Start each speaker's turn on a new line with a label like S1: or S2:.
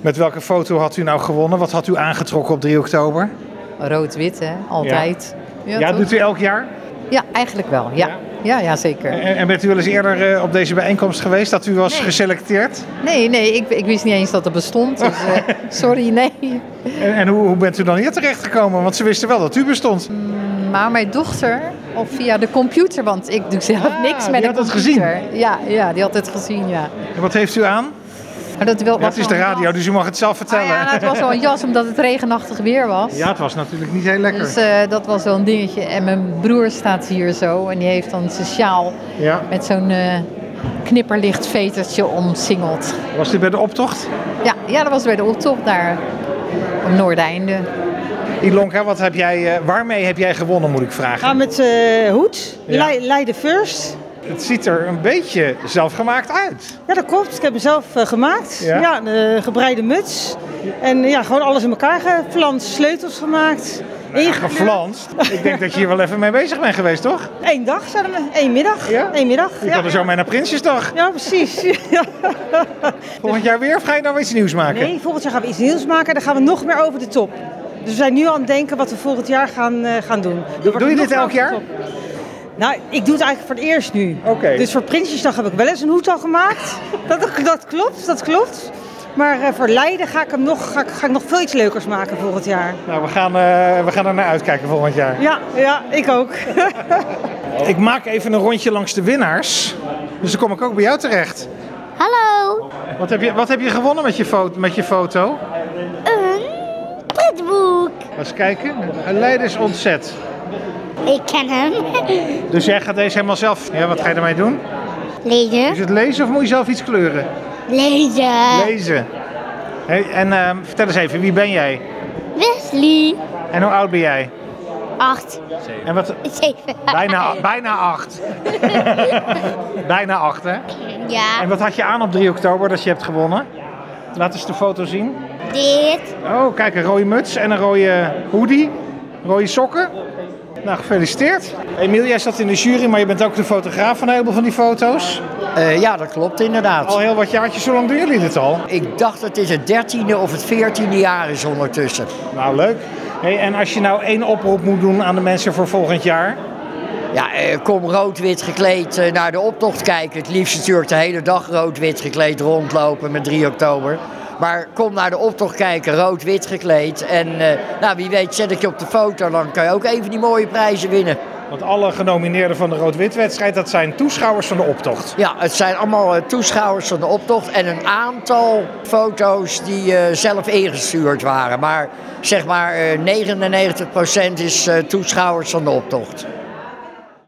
S1: Met welke foto had u nou gewonnen? Wat had u aangetrokken op 3 oktober?
S2: Rood-wit, hè? Altijd.
S1: Ja,
S2: toch?
S1: doet u elk jaar?
S2: ja eigenlijk wel. Ja,
S1: Ja?
S2: ja? ja, zeker.
S1: En, en bent u wel eens eerder eh, op deze bijeenkomst geweest dat u was
S2: Nee.
S1: geselecteerd?
S2: Nee, nee, ik, ik wist niet eens dat het bestond. Dus, eh, sorry, nee.
S1: En, en hoe, hoe bent u dan hier terechtgekomen? Want ze wisten wel dat u bestond.
S2: Maar mijn dochter, of via de computer, want ik doe zelf
S1: Ah,
S2: niks
S1: die
S2: met
S1: had
S2: de
S1: het
S2: computer. Ja, ja, die had het gezien, ja.
S1: En wat heeft u aan?
S2: Maar dat wil,
S1: Ja, het is de radio, dus u mag het zelf
S2: Ah,
S1: vertellen.
S2: ja, nou, het was wel een jas omdat het regenachtig weer was.
S1: Ja, het was natuurlijk niet heel lekker.
S2: Dus eh, dat was wel een dingetje. En mijn broer staat hier zo en die heeft dan zijn sjaal
S1: Ja.
S2: met zo'n eh, knipperlicht vetertje omsingeld.
S1: Was dit bij de optocht?
S2: Ja, ja, dat was bij de optocht daar op Noordeinde.
S1: Ilonka, wat heb jij, eh, waarmee heb jij gewonnen, moet ik vragen?
S3: Ga
S2: Ah,
S3: met eh hoed.
S1: Ja.
S3: Lei- Leiden first.
S1: Het ziet er een beetje zelfgemaakt uit.
S3: Ja, dat klopt. Ik heb hem zelf eh, gemaakt.
S1: Ja?
S3: Ja, een eh, gebreide muts. En eh, ja, gewoon alles in elkaar geflanst. Sleutels gemaakt.
S1: Nou,
S3: ingekleurd.
S1: geflanst. ik denk dat je hier wel even mee bezig bent geweest, toch?
S3: Eén dag zijn we. Eén middag.
S1: Ja?
S3: Eén middag.
S1: Ik
S3: ja.
S1: had er zo mee naar Prinsjesdag.
S3: ja, precies. Ja.
S1: Volgend jaar weer of ga je nou iets nieuws maken?
S3: Nee, volgend jaar gaan we iets nieuws maken. Dan gaan we nog meer over de top. Dus we zijn nu aan het denken wat we volgend jaar gaan, eh, gaan doen. Dan wordt
S1: doe je
S3: het
S1: dit
S3: nog
S1: elk jaar?
S3: over de top. Nou, ik doe het eigenlijk voor het eerst nu.
S1: Oké.
S3: Dus voor Prinsjesdag heb ik wel eens een hoed al gemaakt. dat, dat klopt, dat klopt. Maar eh, voor Leiden ga ik, hem nog, ga, ik- ga ik nog veel iets leukers maken volgend jaar.
S1: Nou, we gaan, eh, we gaan er naar uitkijken volgend jaar.
S3: Ja, ja, ik ook.
S1: Ik maak even een rondje langs de winnaars. Dus dan kom ik ook bij jou terecht.
S4: Hallo,
S1: Wat heb je, wat heb je gewonnen met je, foto, met je foto?
S4: een pretboek.
S1: Laat eens kijken. Leiden is ontzet.
S4: Ik ken hem.
S1: Dus jij gaat deze helemaal zelf. Ja, wat ga je ermee doen? Is
S4: Lezen.
S1: het lezen of moet je zelf iets kleuren?
S4: Lezen.
S1: Lezen. Hey, en ehm, vertel eens even, wie ben jij?
S4: Wesley.
S1: En hoe oud ben jij?
S4: Acht.
S1: En wat,
S4: Eh. Zeven.
S1: bijna, bijna acht. bijna acht, hè? En
S4: Ja,
S1: wat had je aan op 3 oktober dat je hebt gewonnen? Laat eens de foto zien.
S4: dit.
S1: Oh, kijk, een rode muts en een rode hoodie. Rode sokken. Nou, gefeliciteerd. Emiel, jij zat in de jury, maar je bent ook de fotograaf van een heleboel van die foto's.
S5: Eh, ja, dat klopt inderdaad.
S1: Al heel wat jaartjes, zo lang doen jullie dit al?
S5: Ik dacht dat dit het dertiende of het veertiende jaar is ondertussen.
S1: Nou, leuk. Hey, en als je nou één oproep moet doen aan de mensen voor volgend jaar?
S5: Ja, eh, kom rood-wit gekleed eh, naar de optocht kijken. Het liefst natuurlijk de hele dag rood-wit gekleed rondlopen met 3 oktober. Maar kom naar de optocht kijken, rood-wit gekleed. En eh, nou, wie weet zet ik je op de foto, dan kan je ook even die mooie prijzen winnen.
S1: Want alle genomineerden van de Rood-Wit-wedstrijd, dat zijn toeschouwers van de optocht.
S5: Ja, het zijn allemaal eh, toeschouwers van de optocht en een aantal foto's die eh, zelf ingestuurd waren. Maar zeg maar eh, 99% is eh, toeschouwers van de optocht.